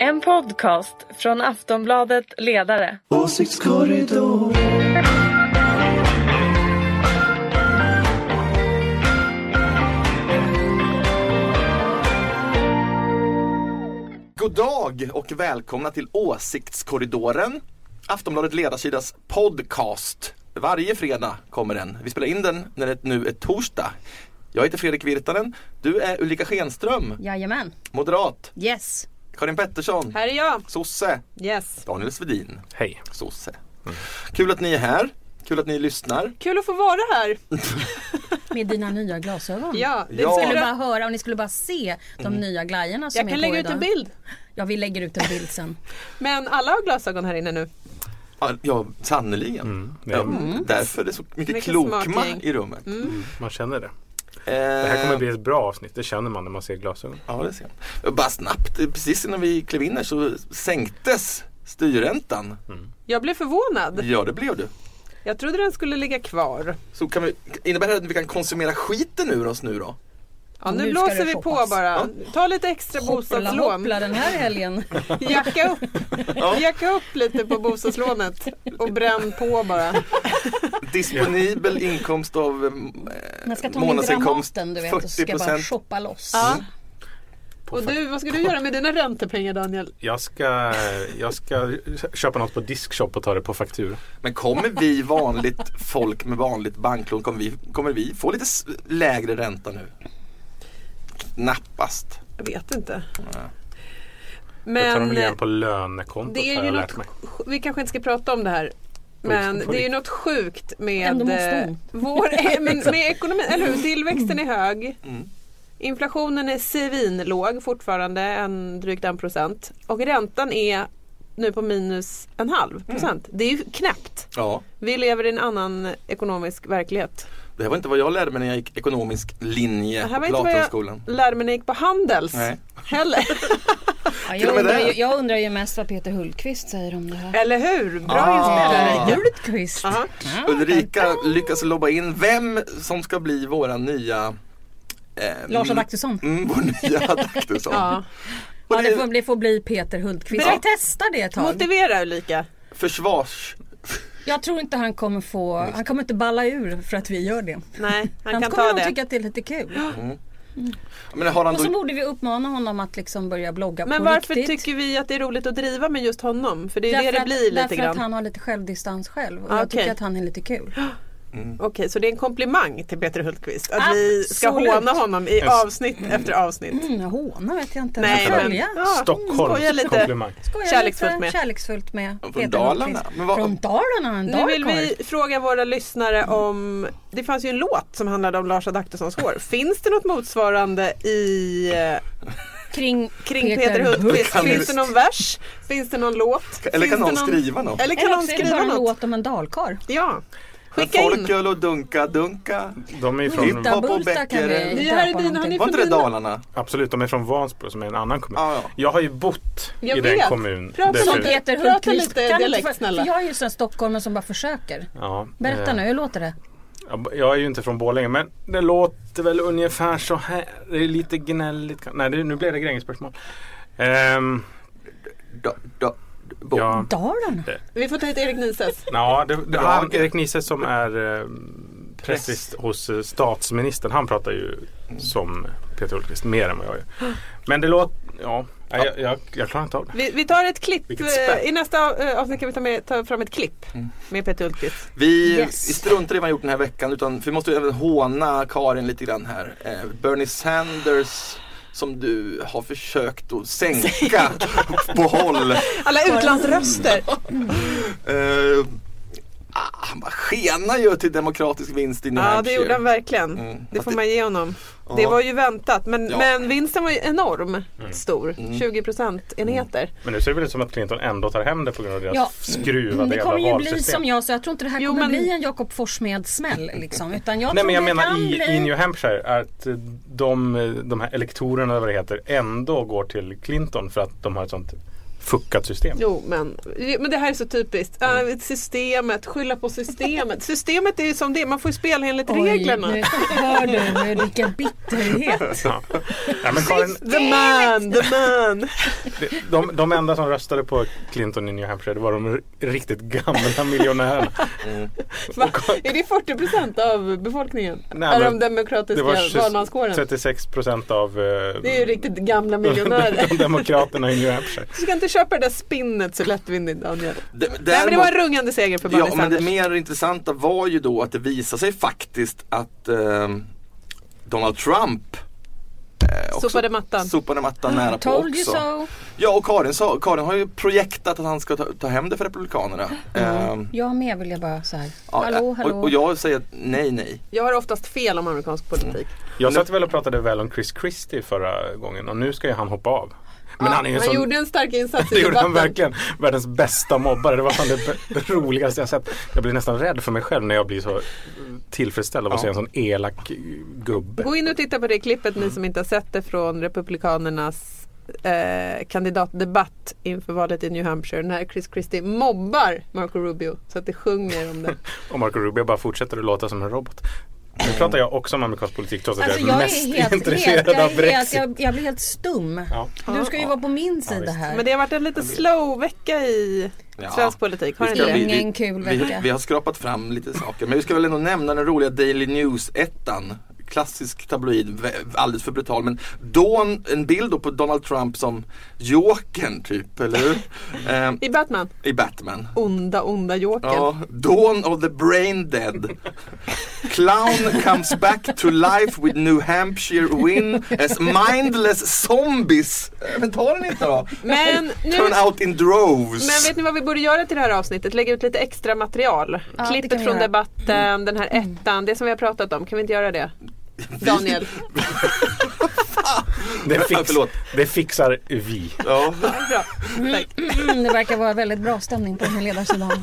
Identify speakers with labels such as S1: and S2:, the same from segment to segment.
S1: En podcast från Aftonbladet Ledare.
S2: Åsiktskorridoren.
S3: God dag och välkomna till Åsiktskorridoren. Aftonbladet Ledarsidas podcast. Varje fredag kommer den. Vi spelar in den när det nu är torsdag. Jag heter Fredrik Virtanen. Du är Ulrika Schenström,
S4: Jajamän.
S3: moderat.
S4: Yes.
S3: Karin Pettersson,
S5: Här är jag.
S3: sosse.
S5: Yes.
S3: Daniel Svedin,
S6: Hej.
S3: sosse. Kul att ni är här. Kul att ni lyssnar.
S5: Kul att få vara här.
S4: Med dina nya glasögon.
S5: Ja, det
S3: Ja.
S4: Ni skulle
S5: skulle
S4: bara höra och ni skulle bara se de
S3: Mm.
S4: nya glajjorna som
S5: jag kan
S4: är
S5: lägga
S4: på
S5: ut
S4: idag.
S5: en bild.
S4: Ja, vi lägger ut en bild sen.
S5: Men alla har glasögon här inne nu.
S3: Ja, Ja, sannerligen.
S6: Ja,
S3: Ja, därför är det så mycket,
S5: Mycket
S3: klokma
S5: smart gäng.
S3: i rummet.
S6: Man känner det.
S3: Eh,
S6: Det här kommer bli ett bra avsnitt. Det känner man när man ser glasögon.
S3: Ja, det ser jag. Bara snabbt, eh, precis innan vi klev in här så sänktes styrräntan.
S5: Jag blev förvånad.
S3: Ja, det blev du.
S5: Jag trodde den skulle ligga kvar.
S3: Så kan vi, innebär det att vi kan konsumera skiten ur oss nu då?
S5: Ja, nu,
S4: Nu ska
S5: blåser
S4: det
S5: vi på
S4: shoppas.
S5: bara. Ta lite extra
S4: Hoppla
S5: bostadslån.
S4: hoppla den här helgen.
S5: Jacka upp. Jacka upp lite på bostadslånet och bränn på bara.
S3: Disponibel inkomst av eh,
S4: Man ska ta med
S3: månadsinkomst
S4: Dramaten du vet och
S3: 40
S4: ska bara
S3: procent.
S4: shoppa loss.
S5: Ja.
S6: På
S5: Och
S6: fa-
S5: du, vad ska du göra med dina räntepengar Daniel?
S6: Jag ska, jag ska köpa något på Diskshop och ta det på faktura.
S3: Men kommer vi vanligt folk med vanligt banklån, kommer vi, kommer vi få lite s- lägre ränta nu? Knappast.
S5: Jag vet inte.
S6: Det tar
S5: Men eh,
S6: de väl igen på lönekontot
S5: det är
S6: har
S5: ju
S6: jag
S5: något,
S6: lärt mig.
S5: vi kanske inte ska prata om det här. Men
S6: Oj, oj.
S5: det är ju något sjukt med,
S4: Ändå måste
S5: eh,
S4: hon.
S5: vår, eh, men med ekonomin, eller hur? Tillväxten är hög.
S3: Mm.
S5: Inflationen är svinlåg fortfarande, en, drygt en procent. Och räntan är nu på minus en
S6: Mm.
S5: halv procent. Det är ju knäppt.
S3: Ja,
S5: Vi lever i en annan ekonomisk verklighet.
S3: det här var inte vad jag lärde mig när jag gick ekonomisk linje
S5: Det här
S3: på
S5: var inte vad jag
S3: Platonskolan.
S5: lärde mig när jag gick på Handels
S3: Nej.
S5: heller.
S4: Ja,
S3: Till och
S4: jag,
S3: med
S4: undrar
S3: det.
S4: ju, jag undrar ju mest vad Peter Hultqvist säger om det här.
S5: Eller hur? Bra
S3: Ah.
S5: inspelare.
S4: Hultqvist.
S5: Aha.
S3: Ulrika lyckas lobba in vem som ska bli våra nya eh,
S4: Lars Adaktusson.
S3: Mm, vår nya Adaktusson.
S5: Ja.
S3: Och
S4: Ja, det
S3: det-
S4: får, det får bli Peter Hultqvist.
S5: Ja.
S4: Vi testar det ett tag.
S5: Motivera Ulrika.
S3: Försvars...
S4: Jag tror inte han kommer få, han kommer inte balla ur för att vi gör det.
S5: Nej, han
S4: Han
S5: kan
S4: kommer
S5: ta
S4: nog
S5: det.
S4: tycka att det är lite kul.
S3: Men har han
S4: Och så
S3: då...
S4: borde vi uppmana honom att liksom börja blogga
S5: Men
S4: på
S5: varför
S4: riktigt.
S5: tycker vi att det är roligt att driva med just honom? För det är ju det
S4: Därför
S5: det blir
S4: att,
S5: lite
S4: Därför att
S5: grann.
S4: han har lite självdistans själv. Och
S5: Ah,
S4: jag tycker
S5: okej.
S4: att han är lite kul.
S5: Okej, så det är en komplimang till Peter Hultqvist att vi ska
S4: Absolut.
S5: håna honom i
S6: Yes.
S5: avsnitt efter avsnitt.
S4: Mm, jag hånar vet jag inte.
S5: Nej,
S4: men
S5: men
S4: följa.
S5: ja, skoja
S6: Stockholms
S5: lite.
S6: komplimang.
S4: Skoja
S5: kärleksfullt
S4: lite,
S5: med.
S4: Kärleksfullt med
S3: Från
S4: Peter
S3: Dalarna.
S4: Hultqvist.
S3: Men vad-
S4: Från Dalarna, en
S5: Nu vill
S4: dalkarl.
S5: vi fråga våra lyssnare om, det fanns ju en låt som handlade om Lars Adaktussons hår. Finns det något motsvarande i, eh,
S4: Kring,
S5: kring Peter, Hultqvist?
S3: Kan
S5: Finns
S3: du-
S5: det någon vers? Finns det någon låt?
S3: Eller kan
S5: Finns det
S3: någon skriva något?
S5: Eller kan
S4: Eller
S5: någon
S4: också är det bara
S5: skriva
S4: en
S5: något?
S4: låt om en dalkarl.
S5: Ja,
S3: Men
S5: skicka in.
S3: Folköl och dunka dunka.
S6: De är från,
S3: Hitta-
S4: Hulta
S3: på
S4: Bulta kan
S3: Bäckeren.
S4: vi
S5: Ni här är
S4: döpa
S5: dina,
S4: honom
S5: har ni
S4: till.
S3: Var inte det
S5: Förmina.
S3: Dalarna?
S6: absolut, de är från Vansbro som är en annan kommun.
S3: Ja, ja.
S6: Jag har ju bott
S5: Jag
S6: i den
S5: vet.
S6: kommun.
S5: Prata
S6: där
S5: om
S4: Som
S6: förut.
S5: det.
S4: Peter
S5: Prata
S4: Hultqvist.
S5: lite
S4: Kan inte
S5: dialekt,
S4: för-
S5: snälla.
S4: för Jag är ju en stockholmare som bara försöker.
S6: Ja,
S4: Berätta
S6: eh,
S4: nu, hur låter det?
S6: Jag är ju inte från Borlänge men det låter väl ungefär så här. Det är lite gnälligt. Nej, det, nu blev det Grängesbergsmål. Ehm,
S3: Da, da, bo.
S6: ja,
S4: Dalarna?
S5: Vi får ta hit Erik Nises.
S6: ja, det, det
S3: Ja,
S6: var
S3: okej.
S6: Erik Nises som är eh, precis hos eh, statsministern. Han pratar ju som Peter Hultqvist mer än vad jag gör. Men det låter, ja, nej, jag, jag, jag klarar inte av det.
S5: Vi, vi tar ett klipp.
S6: Vilket Mm. spänn.
S5: eh, I nästa av- eh, avsnitt kan vi ta, med, ta fram ett klipp med Peter Hultqvist.
S3: Vi,
S4: Yes.
S3: vi struntar i vad han gjort den här veckan utan vi måste även håna Karin lite grann här. Eh, Bernie Sanders som du har försökt att sänka på håll.
S5: Alla utlandsröster.
S3: Eh, ah, han bara skenar ju till demokratisk vinst i New
S5: Ja, det
S3: Hampshire.
S5: gjorde han verkligen.
S3: Mm.
S5: Det
S3: Att
S5: får
S3: det-
S5: man ge honom.
S3: Ja.
S5: Det var ju väntat. Men,
S3: Ja.
S5: men vinsten var ju enorm stor. 20 procentenheter.
S6: Men nu ser det väl ut som att Clinton ändå tar hem det på grund av deras
S4: Ja.
S6: skruvade
S4: Mm, Det
S6: jävla
S4: kommer ju bli
S6: valsystem.
S4: som jag, så jag tror inte det här
S5: Jo,
S4: kommer
S5: men-
S4: bli en Jakob Forssmed-smäll. Liksom, utan jag
S6: Nej
S4: tror
S6: men jag
S4: det
S6: menar
S4: kan
S6: i,
S4: bli...
S6: i New Hampshire att eh, de, de här elektorerna eller vad det heter ändå går till Clinton för att de har ett sånt fuckat system.
S5: Jo, men, men det här är så typiskt. Äh, systemet, skylla på systemet. Systemet är ju som det är. man får ju spela enligt reglerna.
S4: nu hör du med vilken bitterhet.
S6: Ja. Ja, men Karin,
S5: The man, the man.
S6: det- de, de enda som röstade på Clinton i New Hampshire det var de r- riktigt gamla miljonärerna.
S5: Va? Är det 40 procent av befolkningen?
S6: Nej,
S5: av
S6: men
S5: de demokratiska
S6: det var tjus-
S5: valmanskåren?
S6: 36 procent av eh,
S5: Det är ju riktigt gamla miljonärer.
S6: de demokraterna i New Hampshire.
S5: Du ska inte köpa det där spinnet så lättvindigt Daniel.
S3: D-
S5: Nej, men det
S3: däremot-
S5: var en rungande seger för Bernie
S3: Ja, men det
S5: Sanders.
S3: mer intressanta var ju då att det visade sig faktiskt att ehm, Donald Trump eh, också
S5: Sopade mattan.
S3: sopade mattan nära på
S4: Told you
S3: också.
S4: so.
S3: Ja, och Karin, sa, Karin har ju projektat att han ska ta, ta hem det för Republikanerna. Ehm,
S4: Jag med vill jag bara så här.
S3: ja,
S4: Mm. hallå,
S3: och,
S4: hallå.
S3: och jag säger nej, nej.
S5: Jag har oftast fel om amerikansk politik.
S6: Jag satt väl och pratade väl om Chris Christie förra gången och nu ska ju han hoppa av. Men han är ju en
S5: Ah, han
S6: sån
S5: gjorde en stark insats i
S6: Det gjorde han
S5: debatten.
S6: verkligen. Världens bästa mobbare. Det var fan det b- roligaste jag sett. Jag blir nästan rädd för mig själv när jag blir så tillfredsställd av att se en sån elak gubbe.
S5: Gå in och titta på det klippet ni som inte har sett det från Republikanernas eh, kandidatdebatt inför valet i New Hampshire när Chris Christie mobbar Marco Rubio så att det sjunger om det.
S6: Och Marco Rubio bara fortsätter att låta som en robot. Nu pratar jag också om amerikansk politik trots att
S4: Mm. Alltså
S6: jag är
S4: jag
S6: mest
S4: är helt, helt,
S6: intresserad
S4: jag,
S6: av
S4: är helt
S6: Brexit.
S4: jag, jag blir helt stum.
S6: Ja.
S4: Du ska ju vara på min sida
S6: visst.
S4: här.
S5: Men det har varit en lite slow vecka i
S3: Ja.
S5: svensk politik. Har
S3: Vi
S5: ni
S3: ska-
S5: inte det?
S3: vi-
S4: Ingen kul
S3: Vi,
S4: vecka.
S3: vi har skrapat fram lite saker. Men vi ska väl ändå nämna den roliga Daily News-ettan. Klassisk tabloid, vä- alldeles för brutal. Men då en, en bild då på Donald Trump som Jokern typ, eller hur? Ehm,
S5: I Batman,
S3: I Batman.
S5: onda, onda jokern.
S3: Ja, Dawn of the Brain Dead. Clown comes back to life with New Hampshire win as mindless zombies. Äh, Men ta den inte då.
S5: Men nu
S3: Turn out in droves.
S5: Men vet ni vad vi borde göra till det här avsnittet? Lägga ut lite extra material.
S4: Ja, det kan
S5: Klippet
S4: vi göra.
S5: från
S4: Mm.
S5: debatten, den här ettan, det som vi har pratat om. Kan vi inte göra det? Daniel,
S6: Det, fix,
S3: Förlåt.
S6: det fixar vi.
S3: Ja.
S5: bra. Tack.
S4: Mm, det verkar vara väldigt bra stämning på den här ledarsidan.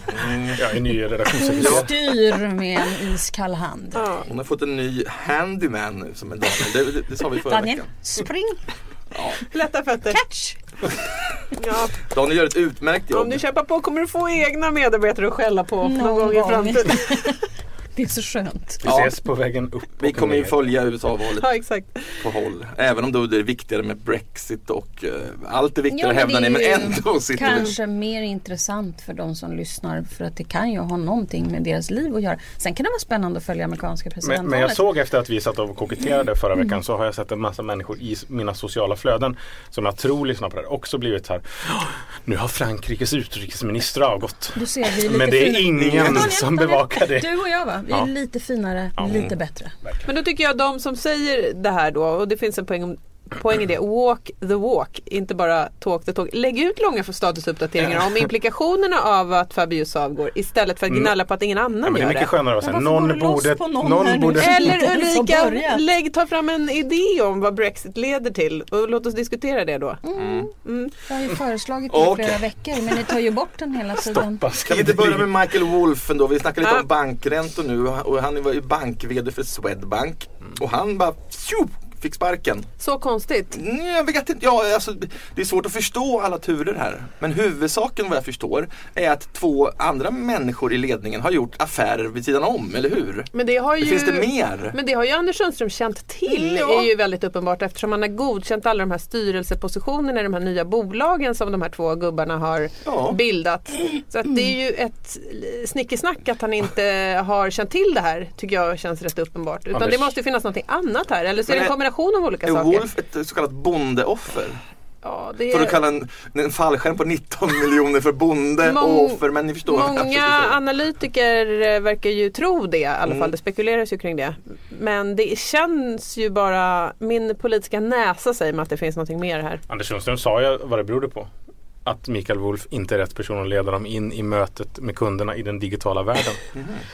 S6: Jag är ny
S4: Hon
S6: redaktionssekreterare.
S4: styr med en iskall hand.
S5: Ja.
S3: Hon har fått en ny handyman nu som är Daniel. Det, det, det sa vi förra
S4: Daniel,
S3: veckan.
S4: spring,
S5: Lätta fötter.
S4: catch!
S5: Ja.
S3: Daniel gör ett utmärkt jobb.
S5: Om du kämpar på kommer du få egna medarbetare att skälla på någon
S4: Någon
S5: gång i
S4: gång.
S5: framtiden.
S4: Det är så skönt.
S6: Vi ses på vägen upp
S3: Vi
S6: och
S3: kommer ju
S6: ner.
S3: följa USA-valet
S5: Ja, exakt.
S3: på håll. Även om då det är viktigare med Brexit och eh, allt är viktigare
S4: Ja, men
S3: hävdar
S4: det
S3: ni
S4: är
S3: men
S4: ju
S3: ändå sitter vi.
S4: Kanske mer intressant för de som lyssnar för att det kan ju ha någonting med deras liv att göra. Sen kan det vara spännande att följa amerikanska
S6: Men,
S4: presidentvalet.
S6: men jag såg efter att vi satt och koketterade förra
S4: Mm.
S6: veckan så har jag sett en massa människor i s- mina sociala flöden som jag tror lyssnar på det här också blivit så här. "Åh, Nu har Frankrikes utrikesminister avgått.
S4: Du ser, vi är lite
S6: Men det är
S4: finare.
S6: ingen
S4: Daniel,
S6: som
S4: Daniel,
S6: bevakar det.
S4: Du och jag va? Vi är
S6: Ja.
S4: lite finare,
S6: Ja.
S4: lite bättre.
S5: Men då tycker jag de som säger det här då, och det finns en poäng, om- poäng i det, walk the walk, inte bara talk the talk. Lägg ut långa statusuppdateringar om implikationerna av att Fabius avgår istället för att gnälla på att ingen annan
S6: Ja, men det är
S5: gör
S6: mycket skönare att säga
S4: Men varför går
S6: någon
S4: du loss
S6: borde,
S4: på
S6: någon,
S4: någon här nu?"
S6: borde,
S4: Eller-
S5: Eller
S4: ens har
S5: Ulrika,
S4: börjat.
S5: lägg, ta fram en idé om vad Brexit leder till och låt oss diskutera det då.
S4: Jag har ju föreslagit det i
S3: Okej.
S4: flera veckor men ni tar ju bort den hela tiden.
S3: Kan vi inte börja med Michael Wolf ändå? Vi snackar lite
S5: Ja.
S3: om bankräntor nu och han var ju bank-VD för Swedbank. Och han bara tjo, fick sparken.
S5: Så konstigt.
S3: Nej, Jag vet inte, ja, alltså, det är svårt att förstå alla turer här. Men huvudsaken vad jag förstår är att två andra människor i ledningen har gjort affärer vid sidan om, eller hur?
S5: Men det har ju...
S3: Finns det mer?
S5: Men det har ju Anders Sundström känt till
S3: Ja.
S5: är ju väldigt uppenbart eftersom han har godkänt alla de här styrelsepositionerna i de här nya bolagen som de här två gubbarna har
S3: Ja.
S5: bildat. Så att det är ju ett snickesnack att han inte har känt till det här tycker jag känns rätt uppenbart. Utan
S6: Anders-
S5: det måste ju finnas något annat här eller så är det
S3: Men
S5: en
S3: är-
S5: kombination av olika
S3: Är
S5: saker.
S3: Wolf ett så kallat bondeoffer?
S5: Ja, det är-
S3: Får du kalla en, en fallskärm på 19 miljoner för bonde
S5: Mång-
S3: och offer? Men ni förstår vad jag
S5: Många
S3: försöker säga.
S5: analytiker eh, verkar ju tro det i alla fall.
S6: Mm.
S5: Det spekuleras ju kring det. Men det känns ju bara, min politiska näsa säger mig att det finns någonting mer här.
S6: Anders Sundström sa ju vad det berodde på. Att Mikael Wolf inte är rätt person att leda dem in i mötet med kunderna i den digitala världen.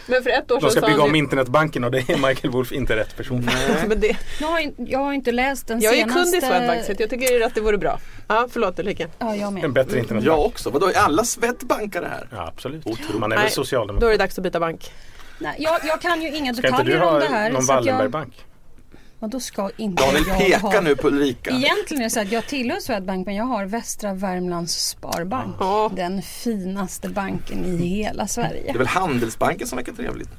S5: Men för ett år
S6: De
S5: sedan
S6: ska
S5: sa han
S6: bygga om
S5: ju-
S6: internetbanken och det är Michael Wolf inte rätt person för.
S5: Men det,
S4: Jag har, ju- jag har inte läst den
S5: jag är ju
S4: senaste...
S5: kund i Swedbank så att jag tycker att det vore bra. Ja, förlåt Ulrika.
S4: Ja, jag
S6: En
S4: med.
S6: bättre
S3: Jag
S6: internetbank.
S3: också, vadå är alla Swedbankare här?
S6: Ja, absolut.
S3: Otroligt.
S6: Man är väl
S5: Nej, Då
S6: socialdemokrat.
S5: är det dags att byta bank.
S4: Nej, jag, jag kan ju inga
S6: Ska inte du
S4: detaljer om
S6: ha
S4: det här.
S6: någon
S4: så att jag-
S6: Wallenbergbank?
S4: Men då ska inte
S3: Daniel
S4: jag
S3: pekar
S4: ha...
S3: nu på Ulrika.
S4: Egentligen är det så att jag tillhör Swedbank men jag har Västra Värmlands Sparbank.
S5: Ja.
S4: Den finaste banken i hela
S3: Det är
S4: Sverige.
S3: väl Handelsbanken som verkar trevligt.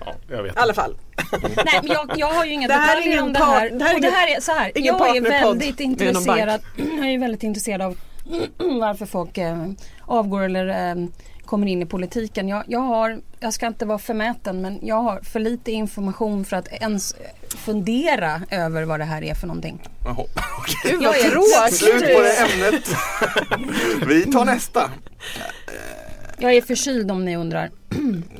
S6: Ja, jag vet
S5: I alla fall.
S4: Nej, men jag, jag har ju inga
S5: Det här är
S4: detaljer om
S5: ingen
S4: det här.
S5: par- det här är
S4: Och det
S5: ingen-
S4: här är så här.
S5: ingen
S4: Jag är
S5: partnerpodd
S4: väldigt
S5: med någon bank.
S4: intresserad. Jag är väldigt intresserad av varför folk eh, avgår eller eh, kommer in i politiken. Jag, jag har, jag ska inte vara förmäten men jag har för lite information för att ens eh, fundera över vad det här är för någonting.
S3: Jaha, okej.
S5: Gud
S4: Jag
S5: vad
S4: är
S3: Slut
S5: tråkigt.
S3: på det ämnet. Vi tar nästa.
S4: Jag är förkyld om ni undrar.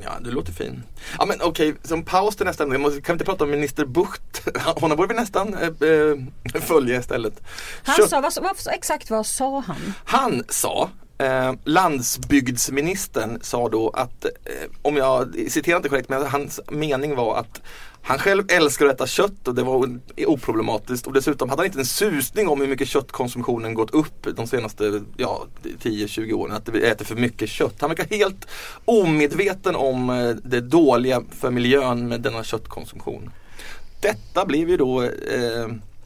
S3: Ja, du låter fin. Ja men okej, som paus till nästa ämne. Jag måste- Kan vi inte prata om minister Bucht? Hon borde vi nästan eh, eh, följa istället.
S4: Han
S3: Kött-
S4: sa, vad, vad, exakt vad sa han?
S3: Han sa, eh, landsbygdsministern sa då att, eh, om jag citerar inte korrekt, men hans mening var att han själv älskar att äta kött och det var o- oproblematiskt och dessutom hade han inte en susning om hur mycket köttkonsumtionen gått upp de senaste ja, 10-20 åren. Att vi äter för mycket kött. Han verkar helt omedveten om eh, det dåliga för miljön med denna köttkonsumtion. Detta blev ju då eh,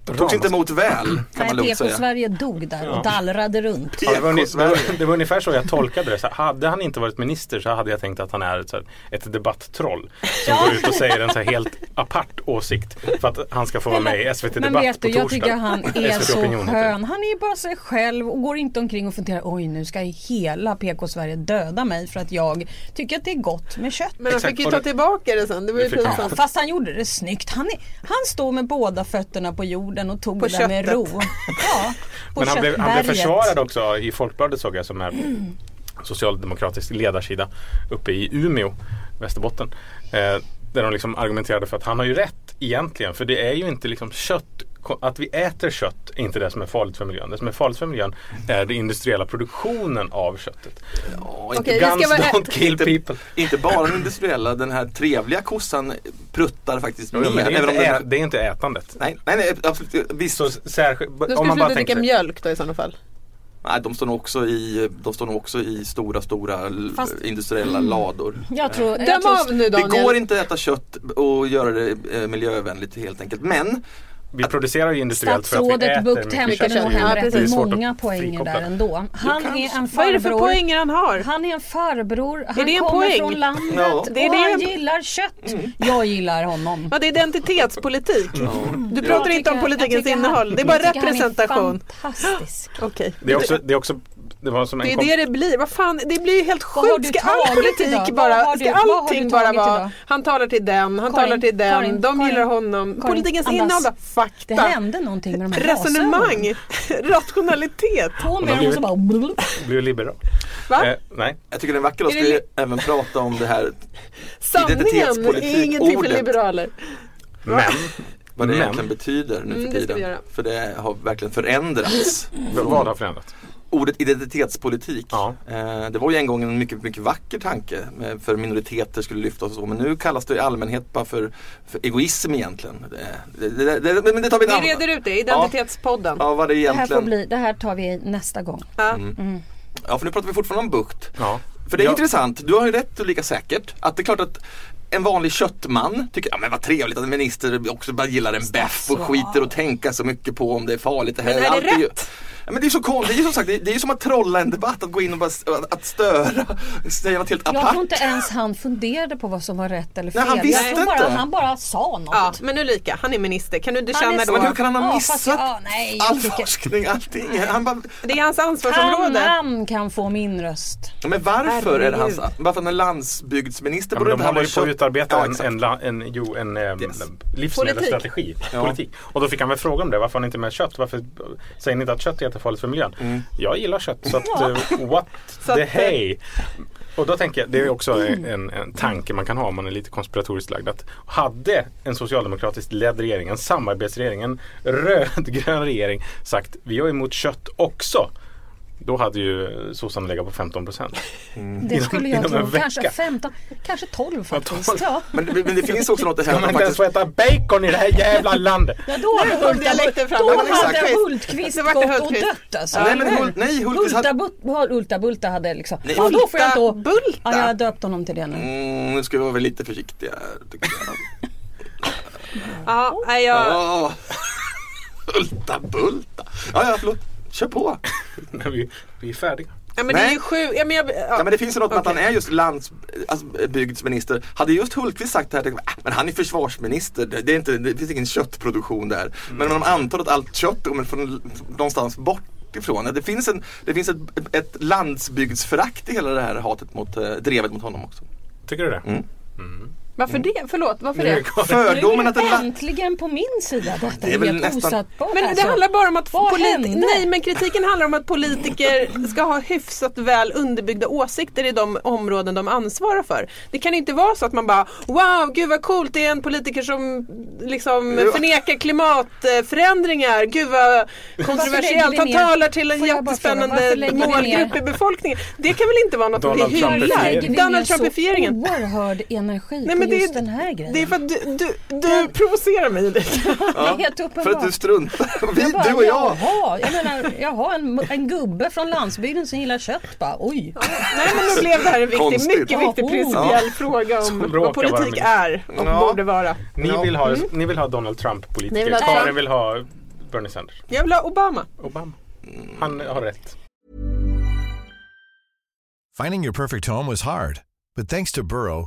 S3: Togs inte emot väl kan man
S4: Nej,
S3: lugnt säga.
S4: PK-Sverige dog där och
S6: Ja.
S4: dallrade runt.
S6: Ja, det, var, ungefär- det,
S3: Ekosverige.
S6: var, det var ungefär så jag tolkade det. Så här, hade han inte varit minister så hade jag tänkt att han är ett, så här, ett debatttroll. Som går ut och säger en så här helt apart åsikt. För att han ska få vara med i SVT
S4: Men
S6: Debatt
S4: vet
S6: på
S4: du,
S6: torsdag.
S4: jag tycker han är
S6: SVT
S4: så
S6: Opinion heter det.
S4: skön. Han är ju bara sig själv och går inte omkring och funderar oj nu ska hela PK-Sverige döda mig för att jag tycker att det är gott med kött.
S5: Men han
S6: Exakt,
S5: fick ju
S6: och
S5: ta
S6: det-
S5: tillbaka det sen. Det var ju
S6: Det fick han.
S5: pinsamt.
S4: Fast han gjorde det snyggt. Han, är, han stod med båda fötterna på jorden och tog
S5: På
S4: det där med
S5: köttet.
S4: ro. Ja, på
S6: Men han blev, han blev
S4: köttberget.
S6: försvarad också i Folkbladet såg jag som är socialdemokratisk ledarsida uppe i Umeå, Västerbotten. Eh, där de liksom argumenterade för att han har ju rätt egentligen. För det är ju inte liksom kött, att vi äter kött är inte det som är farligt för miljön. Det som är farligt för miljön är den industriella produktionen av köttet.
S3: Ja, inte
S5: Okej, vi ska
S6: Guns
S5: vara-
S6: don't kill
S3: Inte-
S6: people.
S3: Inte bara den industriella, den här trevliga kossan pruttar faktiskt
S6: Jo,
S3: mer.
S6: men det, är
S3: även om
S6: inte
S3: den
S6: ä,
S3: här,
S6: det är inte ätandet.
S3: nej, nej, nej, absolut. Visst,
S6: Så särskilt,
S5: Då
S6: om
S5: ska vi
S6: man bara
S5: sluta
S6: tänker
S5: dricka mjölk då i sådana fall.
S3: nej, de, står nog också i, de står nog också i stora, stora l-
S4: Fast-
S3: industriella lador.
S4: Jag tror, jag
S5: Döm
S4: tror
S5: av nu Mm. Daniel.
S3: Det går inte att äta kött och göra det eh, miljövänligt helt enkelt. Men
S6: Vi producerar ju industriellt för att vi äter
S4: Statsrådet Bucht
S6: mycket
S4: hämtade
S6: kött.
S4: nog
S5: Ja,
S4: hem
S5: precis.
S6: Det är
S4: rätt
S6: svårt att
S4: många poänger
S6: frikoppla.
S4: där ändå. Han är en
S5: Vad är det för
S4: farbror.
S5: poänger han har?
S4: Han är en farbror, han
S5: det en
S4: kommer
S5: poäng?
S4: från landet
S3: Ja.
S5: Det är
S4: och
S5: det
S4: han
S5: en- Mm.
S4: gillar kött. Jag gillar honom.
S5: Ja, det är identitetspolitik.
S6: Mm.
S5: Du
S4: Jag
S5: pratar inte
S4: tycker-
S5: om
S4: jag
S5: politikens
S4: tycker
S5: innehåll.
S4: han-
S5: Det är bara
S4: jag tycker han är
S5: representation.
S4: Fantastisk.
S5: Okej.
S6: Det är också, det är också det var som en
S5: Det är
S6: kom-
S5: det det blir. Vad fan, det blir ju helt
S4: Vad har
S5: sjukt.
S4: du
S5: Ska all
S4: tagit
S5: politik
S4: idag? Vad
S5: bara,
S4: har du-
S5: ska
S4: vad har
S5: allting
S4: du
S5: bara
S4: tagit
S5: vara,
S4: idag?
S5: han talar till den, han
S4: Karin,
S5: talar till den,
S4: Karin,
S5: de
S4: Karin,
S5: gillar honom.
S4: Karin,
S5: politikens
S4: andas.
S5: innehåll,
S4: Det
S5: fakta,
S4: hände någonting med de här glasögonen.
S5: resonemang, rationalitet.
S4: På
S6: De
S4: med
S6: blir-
S4: dem och så bara...
S6: Blir liberal.
S5: Va?
S6: Eh, nej.
S3: jag tycker det är en vacker dag
S5: Är
S3: ska
S5: det
S3: vi även prata om det här.
S5: Sanningen är
S3: identitetspolitik,
S5: ingenting för
S3: ordet.
S5: liberaler.
S6: Men
S3: Vad det
S6: Men-
S3: egentligen betyder nu
S5: Mm,
S3: för
S5: det ska vi
S3: tiden.
S5: göra.
S3: För det har verkligen förändrats.
S6: vad har förändrats?
S3: Ordet identitetspolitik.
S6: Ja.
S3: Eh, Det var ju en gång en mycket, mycket vacker tanke eh, för minoriteter skulle lyftas och så. Men nu kallas det i allmänhet bara för, för egoism egentligen. Eh, Det, det, det, det, men det tar vi en
S5: Vi
S3: annan.
S5: reder ut det, identitetspodden.
S3: Ja, Mm. vad det
S4: Det här, får
S3: egentligen.
S4: bli, det här tar vi nästa gång.
S5: Ja.
S3: Ja, för nu pratar vi fortfarande om bukt.
S6: Ja.
S3: För det är
S6: Ja.
S3: intressant, du har ju rätt lika säkert. Att det är klart att en vanlig köttman tycker, ja men vad trevligt att en minister också bara gillar en beff och skiter och tänka så mycket på om det är farligt. Det här.
S5: Men är det
S3: Allt ju-
S5: rätt?
S3: Ja, men det är ju så konstigt, det är ju som sagt, det är, det är ju som att trolla en debatt, att gå in och bara s- att störa, säga något helt
S4: Jag
S3: apart.
S4: tror inte ens han funderade på vad som var rätt eller fel.
S3: Nej, han visste
S4: jag tror bara,
S3: inte.
S4: Han bara sa något.
S5: Ja, men Ulrika, han är minister. Kan du inte
S4: Han är
S5: känna
S4: så-
S5: då?
S3: Men hur kan han ha
S4: Ja,
S3: missat
S4: fast jag- ja, nej, jag
S3: all
S4: tycker-
S3: forskning, allting? Han bara,
S5: Det är hans
S4: Han,
S5: ansvarsområde.
S4: han kan få min röst.
S3: Ja, men varför är det hans,
S5: Herregud.
S3: varför han är landsbygdsminister?
S6: Ja,
S3: borde
S6: men de
S3: inte han
S6: håller
S3: vara
S6: ju på att
S3: kött-
S6: utarbeta
S3: Ja,
S6: en,
S3: exakt.
S6: en, la- en, jo, en ehm,
S3: Yes.
S6: livsmedelsstrategi. Politik.
S3: Ja.
S6: Och då fick han väl fråga om det. Varför har ni inte med kött? Varför säger ni inte att kött är jättefarligt för miljön?
S3: Mm.
S6: Jag gillar kött så att, eh, what
S5: Så
S6: the
S5: att,
S6: hey. Och då tänker jag, det är också
S3: Mm.
S6: en, en tanke man kan ha om man är lite konspiratoriskt lagd. Att hade en socialdemokratiskt ledd regering, en samarbetsregering, en rödgrön regering sagt vi är emot kött också. Då hade ju sossarna legat på 15 procent.
S4: Det
S6: Inom-
S4: skulle jag
S6: inom en
S4: tro. Kanske
S6: vecka.
S4: 15, kanske 12 faktiskt.
S6: 12.
S4: Ja.
S3: Men, det- men det finns också något i det här
S6: Kan man
S3: att
S6: inte ens
S3: faktiskt,
S6: få äta bacon i det här jävla landet?
S4: Ja, då hade
S5: kom dialekten
S4: Hulta-
S5: fram.
S4: då
S5: Ja, men
S4: hade
S5: exakt.
S4: Hultqvist
S5: Det vart det
S4: gått och
S5: Hultqvist.
S4: dött alltså.
S3: Nej, men Hult- nej, Hultqvist hade-
S4: Hulta, Bulta, Hulta Bulta hade liksom.
S3: Nej,
S4: ja, då får jag inte å-
S5: Hulta Bulta? Mm,
S4: Ja, jag har döpt honom till det nu.
S3: mm, nu ska vi vara väl lite försiktiga här, tycker jag.
S5: Ja, nej, jag,
S3: Ja. Hulta bulta. Ja, ja, förlåt. Kör på.
S6: När vi, vi är färdiga.
S5: ja, men det är
S3: Nej.
S5: ju sju, ja, men jag,
S3: Ja,
S5: ja.
S3: men det finns ju något med att
S5: Okej.
S3: han är just landsbygdsminister. Hade just Hultqvist sagt det här, tänkte jag, "Äh, men han är försvarsminister, det, det, är inte, det finns ingen köttproduktion där. Men om man antar att allt kött kommer från någonstans bortifrån. Det finns, en, det finns ett, ett landsbygdsförakt i hela det här hatet mot, eh, drevet mot honom också.
S6: Tycker du det?
S3: Mm.
S5: Varför det? Förlåt, varför
S6: Nu är
S5: det?
S6: det klart.
S3: Fördomen
S4: Nu
S3: att en
S4: är det
S3: land...
S4: äntligen på min sida. Detta
S3: Det är
S4: är,
S3: väl
S4: helt
S3: nästan-
S4: osattbart.
S5: Men det
S4: alltså.
S5: handlar bara om att
S4: Vad
S5: politi-
S4: hände?
S5: Nej men kritiken handlar om att politiker ska ha hyfsat väl underbyggda åsikter i de områden de ansvarar för. Det kan inte vara så att man bara Wow, gud vad coolt, det är en politiker som liksom
S3: Ja.
S5: förnekar klimatförändringar. Gud vad kontroversiellt,
S4: lägger vi
S5: han
S4: ner-
S5: talar till en
S4: Får jag bara fråga, varför
S5: jättespännande
S4: lägger vi ner-
S5: målgrupp i befolkningen. Det kan väl inte vara något
S6: Donald
S5: vi
S6: Trump-
S4: Alltså,
S5: hyllar?
S6: Lägger vi
S4: Trumpifieringen.
S5: Donald Trumpifieringen.
S4: Så oerhörd energi
S5: Nej, men
S4: på
S5: det är-
S4: just den här grejen.
S5: Det är för att du, du, du provocerar mig lite.
S3: Ja,
S4: Helt uppenbart.
S3: för att du struntar. Vi,
S4: Jag bara,
S3: du och jag.
S4: Jaha, jag menar, jaha en, en gubbe från landsbygden som gillar kött bara. Oj.
S5: Nej men nu blev det här en viktig,
S3: Konstigt.
S5: mycket viktig principiell fråga
S6: Som
S5: om
S6: bråkar
S5: vad politik
S6: varandra.
S5: är och
S3: Ja.
S5: borde vara.
S6: Ni, vill ha, ni vill ha Donald
S5: Mm. Ni
S6: Trump-politiker.
S5: vill ha
S6: Karin
S5: Trump.
S6: vill ha Bernie Sanders.
S5: Jag vill ha Obama.
S6: Obama.
S5: Mm.
S6: Han har rätt.
S7: Finding your perfect home was hard, but thanks to Burrow,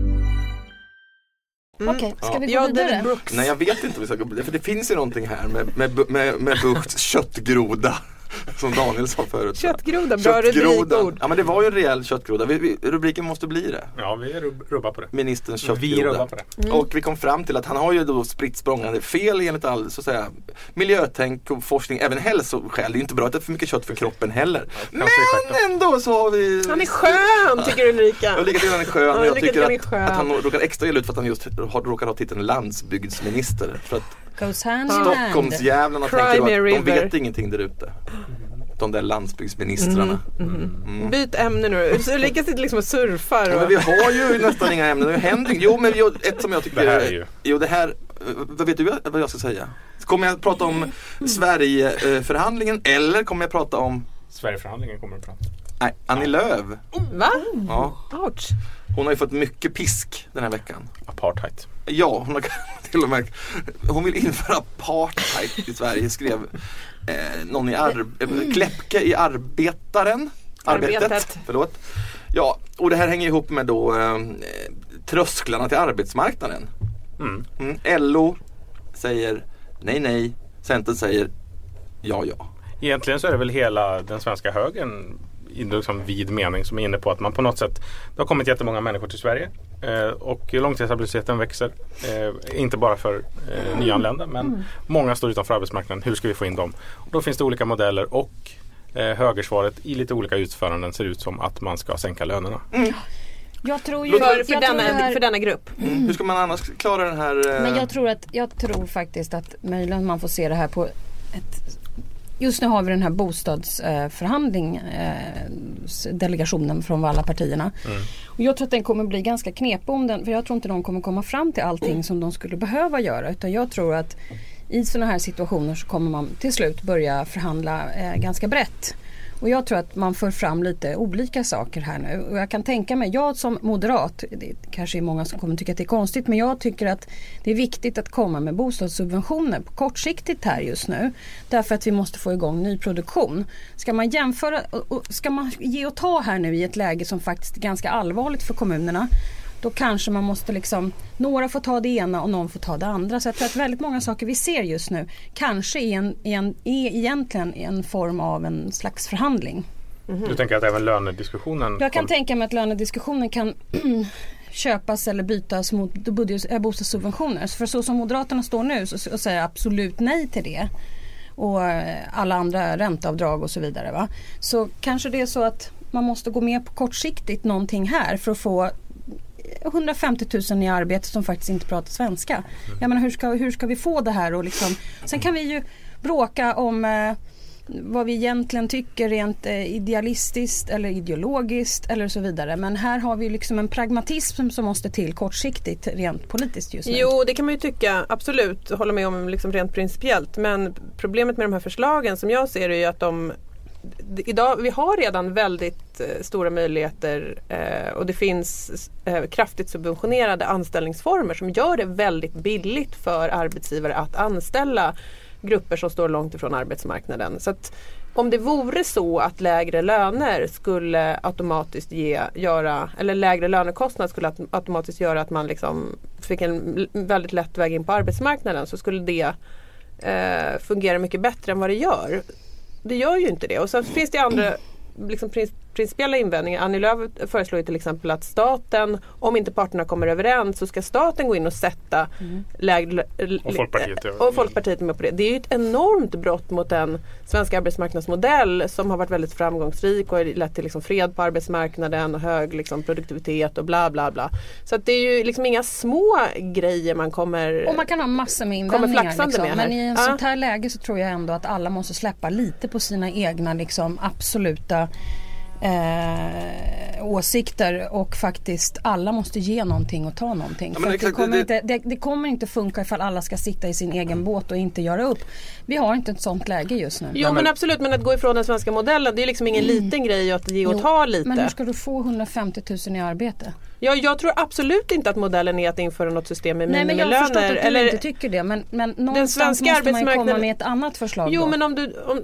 S5: Mm.
S4: Okej, ska vi gå
S5: Jag och David
S4: vidare?
S5: Brooks.
S3: Nej jag vet inte om vi ska gå För det finns ju någonting här med, med, med, med Buchts köttgroda. Som Daniel sa förut.
S5: Köttgroda, bra rubrikord.
S3: Ja men det var ju en rejäl köttgroda. Vi, vi, rubriken måste bli det.
S6: Ja, vi rub- rubbar på det.
S3: Ministerns
S6: Vi
S3: köttgroda. Mm.
S6: rubbar på det.
S3: Och vi kom fram till att han har ju då spritt språngande fel enligt all så att säga, miljötänk och forskning. Även hälsoskäl. Det är ju inte bra att äta för mycket kött för kroppen heller. Men
S6: kanske är skärpt.
S3: ändå så har vi
S5: Han är skön tycker
S3: jag
S5: Ulrika.
S3: tycker att han är skön.
S5: Ja,
S3: och jag
S5: Ulrika
S3: tycker
S5: tycker
S3: att,
S5: han är skön.
S3: att han råkar extra illa ut för att han just har, råkar ha titeln landsbygdsminister. För att
S4: Goes hand in hand.
S3: Stockholmsjävlarna
S5: Cry
S3: tänker
S5: me
S3: då att de
S5: river.
S3: vet ingenting där ute. De där landsbygdsministrarna.
S5: Byt ämne nu. Ulrika sitter liksom och surfar.
S3: Ja, men
S5: Och...
S3: vi har ju nästan inga ämnen. Det händer inget. Jo men jo, ett som jag tycker
S6: Det här är ju-
S3: Jo det här, eh, vad vet du vad jag ska säga? Kommer jag prata om Sverigeförhandlingen eller kommer jag prata om
S6: Sverigeförhandlingen kommer att prata.
S3: Nej, Annie Lööf.
S5: Mm, Va?
S3: Ja,
S5: Ouch.
S3: hon har ju fått mycket pisk den här veckan.
S6: Apartheid.
S3: Ja, hon har till och med Hon vill införa apartheid i Sverige skrev eh, någon i Ar- eh, Kläppke i Arbetaren. Arbetet.
S5: Arbetet.
S3: Förlåt. Ja, och det här hänger ihop med då eh, trösklarna till arbetsmarknaden.
S6: Mm.
S3: Mm, LO säger nej, nej. Centern säger ja, ja.
S6: Egentligen så är det väl hela den svenska högern i liksom vid mening som är inne på att man på något sätt Det har kommit jättemånga människor till Sverige eh, och långtidsarbetslösheten växer. Eh, inte bara för eh, nyanlända men
S5: Mm.
S6: många står utanför arbetsmarknaden. Hur ska vi få in dem? Och då finns det olika modeller och eh, högersvaret i lite olika utföranden ser ut som att man ska sänka lönerna.
S4: Jag tror ju...
S5: För,
S4: jag tror
S5: för,
S4: det
S5: denna,
S4: här-
S5: för denna grupp.
S3: Hur ska man annars klara den här... eh,
S4: Men jag tror, att, jag tror faktiskt att möjligen man får se det här på ett... Just nu har vi den här bostadsförhandlingsdelegationen från alla partierna. Och jag tror att den kommer bli ganska knepig om den. För jag tror inte de kommer komma fram till allting som de skulle behöva göra. Utan jag tror att i sådana här situationer så kommer man till slut börja förhandla eh, ganska brett. Och jag tror att man för fram lite olika saker här nu. Och jag kan tänka mig, jag som moderat, det kanske är många som kommer tycka att det är konstigt, men jag tycker att det är viktigt att komma med bostadssubventioner på kortsiktigt här just nu. Därför att vi måste få igång nyproduktion. Ska man jämföra, och- och ska man ge och ta här nu i ett läge som faktiskt är ganska allvarligt för kommunerna då kanske man måste liksom, några får ta det ena och någon får ta det andra. Så jag tror att väldigt många saker vi ser just nu kanske är, en, är, en, är egentligen en form av en slags förhandling.
S5: Mm-hmm.
S6: Du tänker att även lönediskussionen
S4: Jag kan
S6: kom-
S4: tänka mig att lönediskussionen kan köpas eller bytas mot budget, äh, bostadssubventioner. För så som Moderaterna står nu så, och säger absolut nej till det och eh, alla andra ränteavdrag och så vidare. Va? Så kanske det är så att man måste gå med på kortsiktigt någonting här för att få 150 000 i arbete som faktiskt inte pratar svenska. Jag menar, hur, ska, hur ska vi få det här? Och liksom, sen kan vi ju bråka om eh, vad vi egentligen tycker rent eh, idealistiskt eller ideologiskt eller så vidare. Men här har vi liksom en pragmatism som måste till kortsiktigt rent politiskt just nu.
S5: Jo, det kan man ju tycka, absolut, hålla med om liksom rent principiellt. Men problemet med de här förslagen som jag ser är ju att de d- Idag, vi har redan väldigt eh, stora möjligheter eh, och det finns eh, kraftigt subventionerade anställningsformer som gör det väldigt billigt för arbetsgivare att anställa grupper som står långt ifrån arbetsmarknaden. Så att om det vore så att lägre löner skulle automatiskt ge, göra, eller lägre lönekostnad skulle aut- automatiskt göra att man liksom fick en l- väldigt lätt väg in på arbetsmarknaden så skulle det eh, fungera mycket bättre än vad det gör. Det gör ju inte det. Och sen finns det andra liksom, prin- principiella invändningar. Annie Lööf föreslår ju till exempel att staten, om inte parterna kommer överens, så ska staten gå in och sätta
S4: Mm.
S5: lägre... l-
S6: Och Folkpartiet, ja.
S5: och Folkpartiet är med på det. Det är ju ett enormt brott mot den svenska arbetsmarknadsmodell som har varit väldigt framgångsrik och har lett till liksom fred på arbetsmarknaden och hög liksom produktivitet och bla bla bla. Så att det är ju liksom inga små grejer man kommer...
S4: Och man kan ha massor med
S5: Eh, Kommer
S4: invändningar.
S5: flaxande
S4: Liksom.
S5: med här.
S4: Men i en
S5: Ja.
S4: sånt här läge så tror jag ändå att alla måste släppa lite på sina egna liksom, absoluta eh, åsikter och faktiskt alla måste ge någonting och ta någonting.
S3: Ja, men
S4: För att det,
S3: exakt,
S4: kommer
S3: det-
S4: Inte, det, det kommer inte funka ifall alla ska sitta i sin egen båt och inte göra upp. Vi har inte ett sånt läge just nu.
S5: Jo men, absolut, men att gå ifrån den svenska modellen det är ju liksom ingen liten grej att ge och
S4: Mm. Jo,
S5: ta lite.
S4: Men hur ska du få 150 000 i arbete?
S5: jag, jag tror absolut inte att modellen är att införa något system med
S4: Nej men jag har förstått
S5: minimilöner.
S4: att du inte tycker det men, men någonstans
S5: svenska
S4: måste man ju komma
S5: arbetsmarknaden-
S4: med ett annat förslag
S5: Jo
S4: då.
S5: men om du... Om,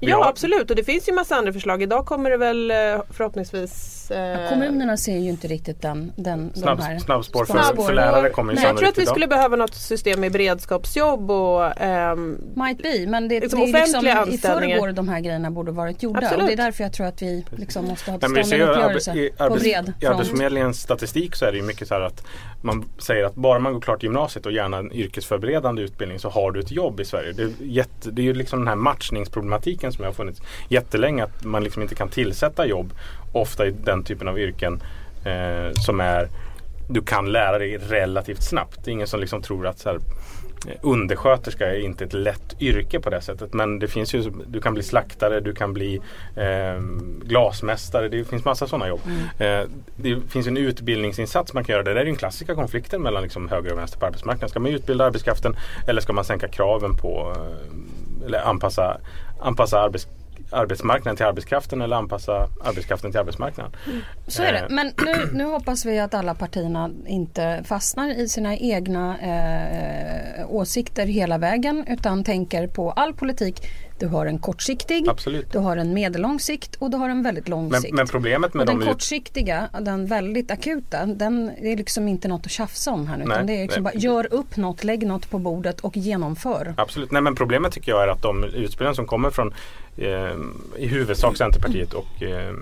S6: Vi
S5: ja
S6: har-
S5: absolut och det finns ju massa andra förslag. Idag kommer det väl eh, förhoppningsvis... eh,
S4: Kommunerna ser ju inte riktigt den, den
S6: Snabb,
S4: de här
S6: snabbspår för,
S5: Snabbspår.
S6: för lärare kommer ju
S5: Nej, jag tror
S6: sannolikt
S5: att vi
S6: idag.
S5: skulle behöva något system med beredskapsjobb och ehm,
S4: Might be, men det,
S5: Liksom
S4: det är
S5: offentliga
S4: liksom i
S5: anställningar.
S4: förrgår de här grejerna borde varit gjorda.
S5: Absolut.
S4: Och det är därför jag tror att vi liksom måste ha
S6: Nej, men vi
S4: till
S6: ser
S4: stånd en
S6: ju arbe-
S4: uppgörelse
S6: i,
S4: på
S6: arbets-
S4: bred
S6: I
S4: front.
S6: Arbetsförmedlingens statistik så är det ju mycket så här att man säger att bara man går klart gymnasiet och gärna en yrkesförberedande utbildning så har du ett jobb i Sverige. Det är, jätte, det är ju liksom den här matchningsproblematiken som har funnits jättelänge att man liksom inte kan tillsätta jobb ofta i den typen av yrken eh, som är du kan lära dig relativt snabbt. Det är ingen som liksom tror att så här, Undersköterska är inte ett lätt yrke på det sättet men det finns ju, du kan bli slaktare, du kan bli eh, glasmästare, det finns massa sådana jobb.
S4: Mm.
S6: Eh, det finns ju en utbildningsinsats man kan göra, det där är ju den klassiska konflikten mellan liksom höger och vänster på arbetsmarknaden. Ska man utbilda arbetskraften eller ska man sänka kraven på eh, eller anpassa, anpassa arbets, arbetsmarknaden till arbetskraften eller anpassa arbetskraften till arbetsmarknaden.
S4: Mm. Så är det.
S6: Eh,
S4: Men nu, nu hoppas vi att alla partierna inte fastnar i sina egna eh, åsikter hela vägen utan tänker på all politik. Du har en kortsiktig,
S6: Absolut.
S4: du har en medellång sikt och du har en väldigt lång
S6: Men,
S4: sikt.
S6: men problemet med
S4: och den
S6: de ut-
S4: kortsiktiga, den väldigt akuta, den det är liksom inte något att tjafsa om här nu.
S6: Nej,
S4: utan det är liksom
S6: nej.
S4: bara, gör upp något, lägg något på bordet och genomför.
S6: Absolut, nej men problemet tycker jag är att de utspelen som kommer från eh, i huvudsak Centerpartiet och eh,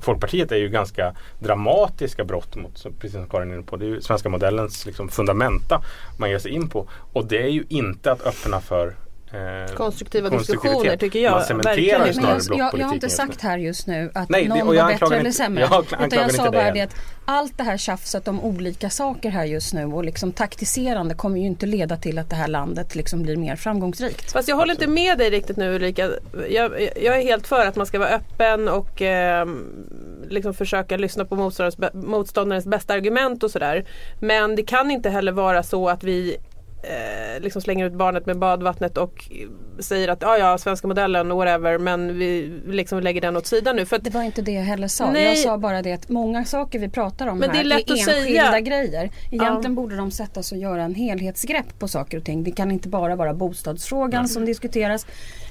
S6: Folkpartiet är ju ganska dramatiska brott mot, så- precis som Karin är inne på, det är ju svenska modellens liksom, fundamenta man ger sig in på. Och det är ju inte att öppna för eh,
S5: konstruktiva
S6: konstruktivitet.
S5: diskussioner tycker jag.
S6: Man cementerar
S5: verkligen.
S6: ju
S4: Men jag, jag,
S6: snarare
S4: jag har
S6: blockpolitiken
S4: inte
S6: just
S4: sagt här just nu att
S6: Nej, det-
S4: någon
S6: och
S4: var
S6: jag
S4: bättre
S6: anklagar
S4: eller
S6: inte-
S4: sämre.
S6: jag ankl-
S4: utan
S6: anklagar
S4: jag sa
S6: inte
S4: bara
S6: dig
S4: det
S6: än.
S4: att allt det här tjafset om olika saker här just nu och liksom taktiserande kommer ju inte leda till att det här landet liksom blir mer framgångsrikt.
S5: Fast jag håller inte med dig riktigt nu Ulrika. Jag, jag är helt för att man ska vara öppen och ehm, liksom försöka lyssna på motståndarens, bä- motståndarens bästa argument och sådär. Men det kan inte heller vara så att vi eh, liksom slänger ut barnet med badvattnet och eh, säger att ja ja, svenska modellen, whatever, men vi liksom lägger den åt sidan nu. För att
S4: Det var inte det jag heller sa.
S5: Nej.
S4: Jag sa bara det att många saker vi pratar om
S5: Men
S4: här
S5: det är lätt att
S4: enskilda
S5: säga.
S4: grejer. Egentligen borde de sätta sig och göra en helhetsgrepp på saker och ting. Det kan inte bara vara bostadsfrågan som diskuteras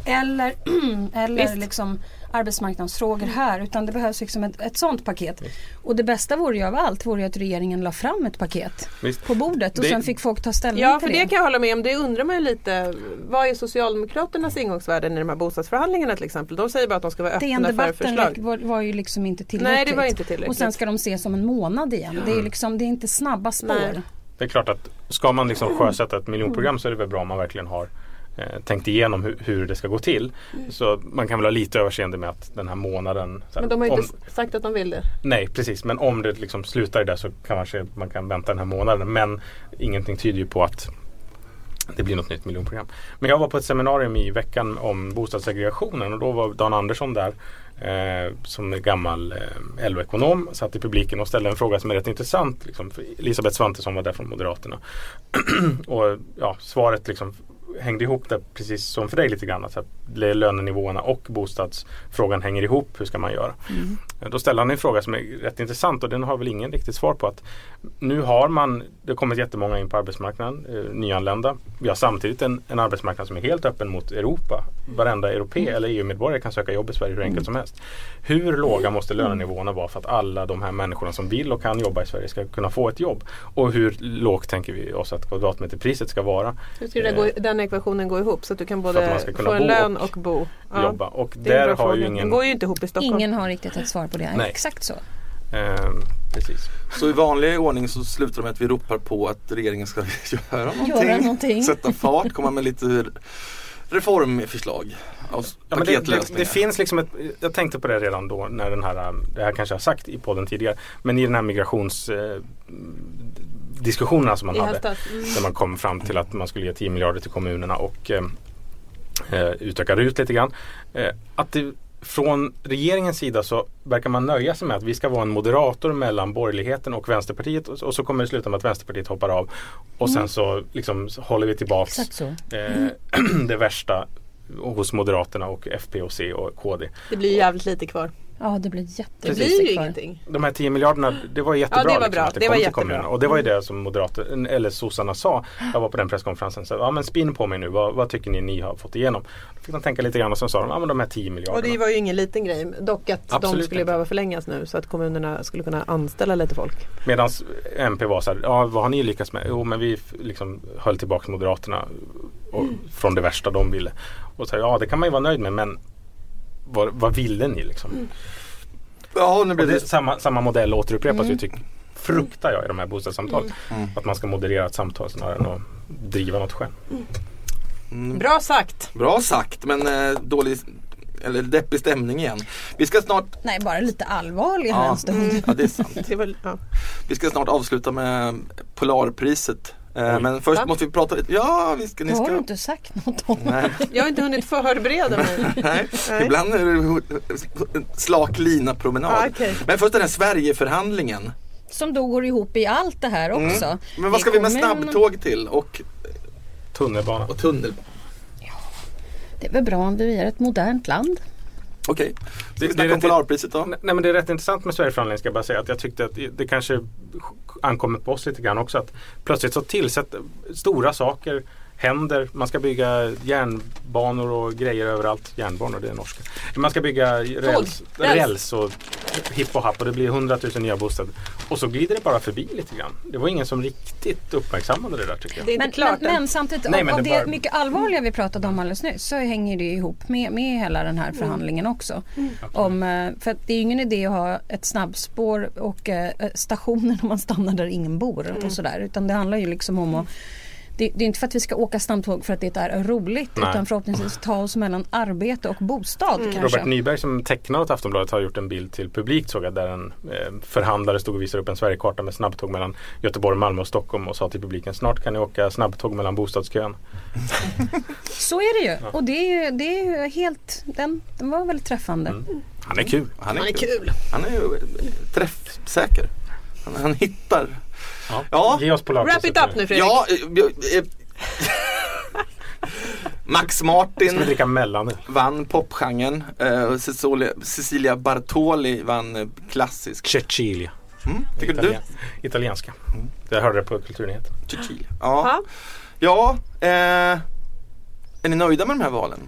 S4: eller, eller
S5: Visst.
S4: liksom arbetsmarknadsfrågor här utan det behövs liksom ett, ett sånt paket. Och det bästa vore ju av allt vore ju att regeringen la fram ett paket
S6: Visst.
S4: på bordet och
S6: Det-
S4: sen fick folk ta ställning
S5: Ja, för
S4: till
S5: det kan jag hålla med om. Det undrar man ju lite. Vad är Socialdemokraternas ingångsvärden i de här bostadsförhandlingarna till exempel? De säger bara att de ska vara
S4: DN
S5: öppna för
S4: debatten
S5: förslag.
S4: var, var ju liksom inte tillräckligt.
S5: Nej, det var inte tillräckligt.
S4: Och sen ska de ses om en månad igen. Det,
S6: Mm.
S4: är liksom, det är inte snabba spår.
S5: Nej.
S6: Det är klart att ska man liksom sjösätta ett miljonprogram så är det väl bra om man verkligen har eh, tänkt igenom hur, hur det ska gå till. Så man kan väl ha lite överseende med att den här månaden så här,
S5: Mm. Men de har ju
S6: om-
S5: inte sagt att de vill det.
S6: Nej precis men om det liksom slutar i det så kanske man kan vänta den här månaden. Men ingenting tyder ju på att Det blir något nytt miljonprogram. Men jag var på ett seminarium i veckan om bostadssegregationen och då var Dan Andersson där eh, som är gammal eh, LO-ekonom. Satt i publiken och ställde en fråga som är rätt intressant. Liksom, för Elisabeth Svantesson var där från Moderaterna. och ja, svaret liksom hängde ihop där precis som för dig lite grann. Att så här, lönenivåerna och bostadsfrågan hänger ihop. Hur ska man göra? Mm. Då ställde han en fråga som är rätt intressant och den har väl ingen riktigt svar på. att Nu har man, det har kommit jättemånga in på arbetsmarknaden, eh, nyanlända. Vi har samtidigt en, en arbetsmarknad som är helt öppen mot Europa. Varenda europé
S5: Mm.
S6: eller EU-medborgare kan söka jobb i Sverige hur enkelt som helst. Hur låga måste
S5: Mm.
S6: lönenivåerna vara för att alla de här människorna som vill och kan jobba i Sverige ska kunna få ett jobb? Och hur lågt tänker vi oss att kvadratmeterpriset ska vara?
S5: Hur ska det
S6: Eh,
S5: gå, den ekvationen gå ihop så att du kan
S6: att man
S5: både
S6: ska kunna
S5: få en
S6: bo
S5: lön
S6: och
S5: och bo? Ja,
S6: jobba. Och
S5: det är en
S6: där
S5: bra
S6: har ju
S5: fråga.
S6: ingen...
S5: Den går ju inte ihop i Stockholm.
S4: Ingen har riktigt ett svar på det.
S6: Nej.
S4: Exakt så.
S6: Ehm, precis.
S3: Så i vanlig ordning så slutar de med att vi ropar på att regeringen ska göra någonting.
S4: Göra någonting.
S3: Sätta fart, komma med lite reformförslag. Av
S6: Ja, men det, det,
S3: paketlösningar.
S6: det finns liksom ett, jag tänkte på det redan då när den här, ähm, det här kanske jag har sagt i podden tidigare, men i den här migrations eh, diskussionerna som man
S5: I
S6: hade.
S5: höstas. Mm.
S6: Där man kom fram till att man skulle ge 10 miljarder till kommunerna och eh, eh, utöka RUT lite grann. Eh, att det, från regeringens sida så verkar man nöja sig med att vi ska vara en moderator mellan borgerligheten och Vänsterpartiet och, och så kommer det sluta med att Vänsterpartiet hoppar av och
S5: Mm.
S6: sen så liksom så håller vi tillbaks
S4: Exakt så.
S6: eh, det värsta hos Moderaterna och FP och C och KD.
S5: Det blir jävligt lite kvar.
S4: Ja, det blir
S5: Det
S4: jättelite
S5: blir ju
S4: kvar.
S5: ingenting.
S6: De här 10 miljarderna, det var jättebra.
S5: Ja, det var
S6: liksom,
S5: bra.
S6: att det
S5: Det
S6: kom
S5: var
S6: till
S5: jättebra. Mm.
S6: kommunerna. Och det var ju det som moderater, eller sossarna sa. Jag var på den presskonferensen. Så, ja men spinn på mig nu. Vad, vad tycker ni ni har fått igenom? Då fick de tänka lite grann och sen sa de, ja men de här 10
S5: Och
S6: miljarderna.
S5: det var ju ingen liten grej. Dock att
S6: Absolut
S5: de skulle
S6: inte.
S5: behöva förlängas nu så att kommunerna skulle kunna anställa lite folk.
S6: Medan MP var så här, ja vad har ni lyckats med? Jo men vi f- liksom höll tillbaka Moderaterna och,
S5: Mm.
S6: från det värsta de ville. Och så här, ja det kan man ju vara nöjd med men vad, vad ville ni liksom?
S3: Ja, nu
S6: Och
S3: blir
S6: det,
S3: det...
S6: samma, samma modell återupprepas
S3: Mm.
S6: ju tycker fruktar jag i de här bostadssamtalen. Att man ska moderera ett samtal snarare än att driva något själv.
S5: Bra sagt!
S3: Mm. Bra sagt, men eh, dålig eller deppig stämning igen. Vi ska snart...
S4: Nej, bara lite allvarligare
S3: Ja. Mm,
S4: en stund.
S3: Ja, det är sant.
S5: Det var, ja.
S3: Vi ska snart avsluta med Polarpriset. Eh,
S6: Oj.
S3: Men först
S5: Va?
S3: måste vi prata lite... Ja, vi ska... Ni
S4: Då har du
S3: ska...
S4: inte sagt något om
S3: Nej,
S5: Jag har inte hunnit förbereda mig.
S3: nej.
S5: Nej.
S3: Ibland är det slak lina-promenad.
S5: Ah, okej.
S3: Men först den här Sverigeförhandlingen.
S4: Som då går ihop i allt det här
S3: Mm.
S4: också.
S3: Men vad ska vi med
S4: kommer-
S3: snabbtåg till och,
S6: Tunnelbana.
S3: och tunnel?
S4: Det är väl bra om vi är ett modernt land.
S3: Okej,
S6: Det-
S3: ska vi
S6: det är
S3: snacka om
S6: inte-
S3: Polarpriset då?
S6: Nej nej, men det är rätt intressant med Sverigeförhandlingen ska jag bara säga att jag tyckte att det kanske ankommer på oss lite grann också att plötsligt så tillsätt stora saker händer. Man ska bygga järnbanor och grejer överallt. Järnbanor, det är norska. Man ska bygga räls,
S5: Räls.
S6: räls och hipp och happ och det blir 100 000 nya bostäder. Och så glider det bara förbi lite grann. Det var ingen som riktigt uppmärksammade det där tycker jag.
S5: Det är inte
S4: Men, men,
S5: klart än.
S4: men samtidigt,
S6: Nej,
S4: av-
S6: men
S4: av
S6: det
S4: det,
S6: bara-
S4: mycket allvarliga vi pratade om alldeles nyss så hänger det ihop med, med hela den här förhandlingen också. Om, eh, för att det är ju ingen idé att ha ett snabbspår och eh, stationer när man stannar där ingen bor och sådär. Utan det handlar ju liksom om att det, det är inte för att vi ska åka snabbtåg för att det är roligt
S6: Nej.
S4: utan förhoppningsvis ta oss mellan arbete och bostad kanske.
S6: Robert Nyberg som tecknar åt Aftonbladet har gjort en bild till publikt såg jag där en eh, förhandlare stod och visade upp en Sverigekarta med snabbtåg mellan Göteborg, Malmö och Stockholm och sa till publiken snart kan ni åka snabbtåg mellan bostadskön.
S4: Så är det ju och det är ju, det är ju helt, den, den var väl träffande.
S6: Han är kul.
S3: Han är, kul. Han är ju eh, träffsäker. Han, han hittar.
S6: Ja.
S3: Ja.
S6: Ge oss på
S5: Wrap it up nu Fredrik!
S3: Ja, eh, eh, Max
S6: Ska vi
S3: Martin
S6: dricka mellanöl?
S3: vann popgenren. Eh, Cecilia, Cecilia Bartoli vann eh, klassisk.
S6: Cecilia.
S3: Mm, tycker du?
S6: Italien- Italienska. Jag hörde det på Kulturnyheterna.
S3: Cecilia. Ja, ja
S5: Ja.
S3: eh, är ni nöjda med de här valen?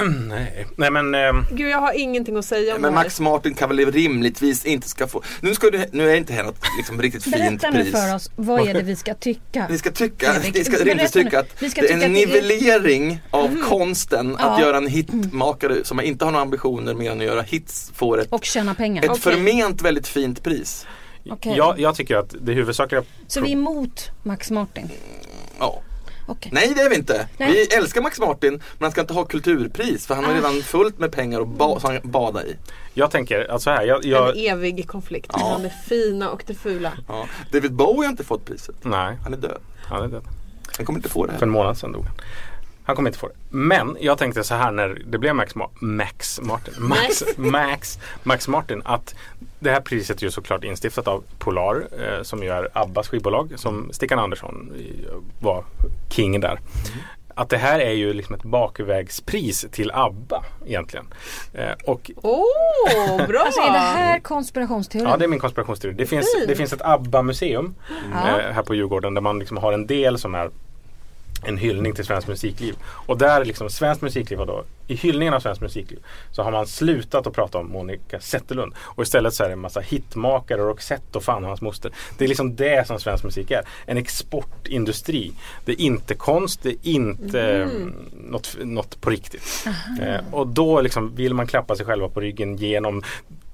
S6: Mm, Nej. Nej men ehm,
S5: Gud jag har ingenting att säga om
S3: Men
S5: det här.
S3: Max Martin kan väl rimligtvis inte ska få... Nu, ska du, nu är inte här något liksom, riktigt fint
S4: Berätta nu
S3: pris.
S4: för oss, vad är det vi ska tycka?
S3: Ni ska tycka,
S4: Fredrik,
S3: ni ska
S4: berätta
S3: rimligtvis
S4: nu.
S3: tycka att
S4: Vi ska
S3: det
S4: tycka
S3: är en
S4: att det är- Mhm.
S3: nivellering av konsten att
S4: Ja.
S3: göra en hitmakare som inte har några ambitioner mer än att göra hits får ett,
S4: Och tjäna pengar.
S3: ett
S5: Okej.
S3: förment väldigt fint pris.
S4: Okej.
S6: jag, jag tycker att det huvudsakliga
S4: Så vi är emot Max Martin?
S3: Ja.
S4: Okej.
S3: Nej det är vi inte.
S4: Nej. Ah.
S3: Vi älskar Max Martin men han ska inte ha kulturpris för han har redan fullt med pengar att ba- som han kan bada i.
S6: Jag tänker att så här. Jag, jag,
S5: En evig konflikt
S3: Ja.
S5: mellan det fina och det fula.
S3: Ja. David Bowie har inte fått priset.
S6: nej.
S3: Han är död.
S6: Han är död.
S3: Han kommer inte få det
S6: För
S3: här.
S6: en månad sedan dog han. Han kommer inte få det. Men jag tänkte så här när det blev Max, Ma- Max Martin. Max, Max, Max Martin. Att det här priset är ju såklart instiftat av Polar eh, som ju är Abbas skivbolag som Stickan Andersson eh, var king där. Att det här är ju liksom ett bakvägspris till ABBA egentligen. Eh, och
S5: Åh, bra!
S4: Alltså är det här konspirationsteorin?
S6: Ja, det är min konspirationsteori. Det finns, det finns ett ABBA-museum
S4: Ja.
S6: eh, här på Djurgården där man liksom har en del som är en hyllning till svenskt musikliv. Och där liksom svenskt musikliv, var då, i hyllningen av svenskt musikliv så har man slutat att prata om Monica Zetterlund. Och istället så är det en massa hitmakare och Roxette och fan och hans moster. Det är liksom det som svensk musik är. En exportindustri. Det är inte konst, det är inte
S4: Mhm.
S6: mm. något, något på riktigt. Eh, och då liksom vill man klappa sig själva på ryggen genom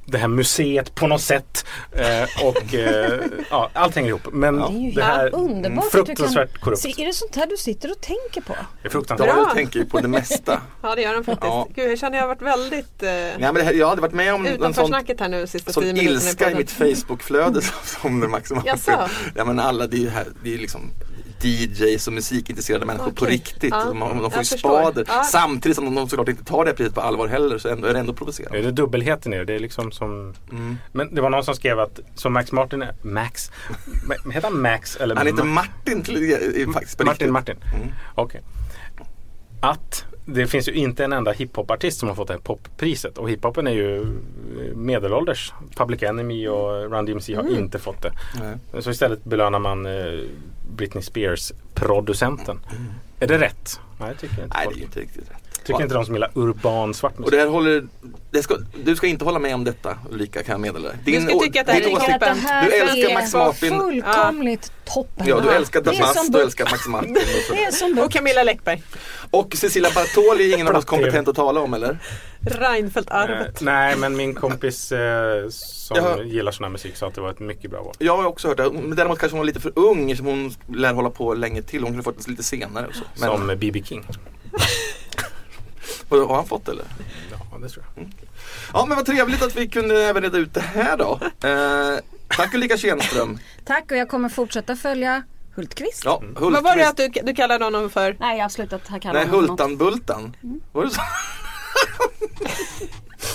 S6: det här museet på något sätt. Eh, och eh, ja, allt hänger ihop. Men
S4: Det är ju
S6: det här mm,
S4: helt underbart att du kan-
S6: fruktansvärt korrupt.
S4: Se, Är det sånt här du sitter och tänker på?
S6: Det är fruktansvärt.
S5: Bra.
S3: Daniel tänker ju på det mesta.
S5: Ja, det gör han faktiskt.
S3: Ja.
S5: Gud, jag känner jag har varit väldigt eh,
S3: Nej, men det här, jag hade varit med om en
S5: utanför
S3: sån,
S5: snacket här nu sista
S3: sån
S5: tio minuterna.
S3: ilska i
S5: podden.
S3: mitt Facebookflöde som, som det Max Martin.
S5: Jaså?
S3: Ja, men alla, det är ju här, det är ju liksom DJs och musikintresserade människor på
S5: Okej.
S3: riktigt.
S5: Ja.
S3: De, de får ju
S5: Jag förstår.
S3: spader.
S5: Ja.
S3: Samtidigt som de såklart inte tar det här priset på allvar heller så ändå, är det ändå provocerande.
S6: Det är dubbelheten i det. det är liksom som,
S3: Mm.
S6: men det var någon som skrev att som Max Martin är Max. Ma- Heter han Max eller
S3: Han heter
S6: Ma-
S3: Mm. Martin till, i- i- faktiskt på
S6: Martin
S3: riktigt.
S6: Martin.
S3: Mm.
S6: Okej. Att det finns ju inte en enda hiphopartist som har fått det här poppriset. Och hiphopen är ju eh, medelålders. Public Enemy och Run DMC har
S3: Mm.
S6: inte fått det.
S3: Nej.
S6: Så istället belönar man eh, Britney Spears producenten. Är det rätt? Nej, det tycker jag inte.
S3: Mm. Nej, det är
S6: folk.
S3: ju inte riktigt rätt.
S6: tycker inte de som gillar urban svart
S3: Och
S6: musik.
S3: det här håller, det ska, du ska inte hålla med om detta Ulrika kan jag meddela dig.
S5: Du ska
S3: å-
S5: tycka att det här
S3: din
S5: är
S3: åsikt-
S5: helt-
S4: Att det här
S3: Du älskar
S4: är
S3: Max Martin.
S4: fullkomligt toppen.
S3: Ja, du älskar
S4: Det är
S3: Damas,
S4: som
S3: du
S4: Buck.
S3: älskar Max Martin. och så.
S4: Det är som
S5: Och Camilla Läckberg.
S3: Och Cecilia Bartoli är ingen av oss
S6: Platt tv.
S3: kompetent att tala om eller?
S6: Eh,
S5: Reinfeldt-arvet.
S3: Eh,
S6: nej, men min kompis eh, som
S3: Jaha.
S6: gillar sån här musik sa att det var ett mycket bra val.
S3: Jag har också hört det, men däremot kanske hon var lite för ung som hon lär hålla på länge till. Hon kunde fått det lite senare. Och så. Men,
S6: Som eh, B.B. King.
S3: och, har han fått det eller?
S6: Ja, det tror jag.
S3: Ja men vad trevligt att vi kunde även reda ut det här då. Eh, tack Ulrika Schenström.
S4: Tack och jag kommer fortsätta följa Hultqvist.
S3: Ja, Hultqvist.
S5: Vad var det att du, du kallade honom för?
S4: Nej, jag har slutat här kalla
S3: Nej,
S4: honom något. Mm.
S3: Hultan-Bultan. Var det så?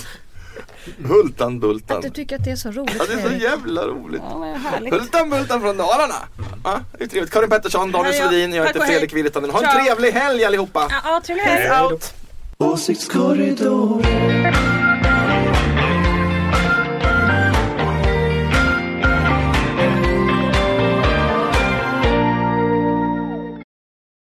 S3: Hultan-Bultan.
S4: Att du tycker att det är så
S3: Ja,
S4: roligt
S3: det är så
S4: Fredrik.
S3: jävla roligt.
S4: Ja, vad härligt.
S3: Hultan-Bultan från Dalarna. Ja, det är trevligt. Karin Pettersson, Daniel
S5: Hej, ja.
S3: Svedin, jag
S5: Tack
S3: heter
S5: och hej.
S3: Fredrik Virtanen. Ha en
S5: Ciao.
S3: trevlig helg allihopa.
S4: Ja, trevlig helg.
S5: Out.
S2: Åsiktskorridoren.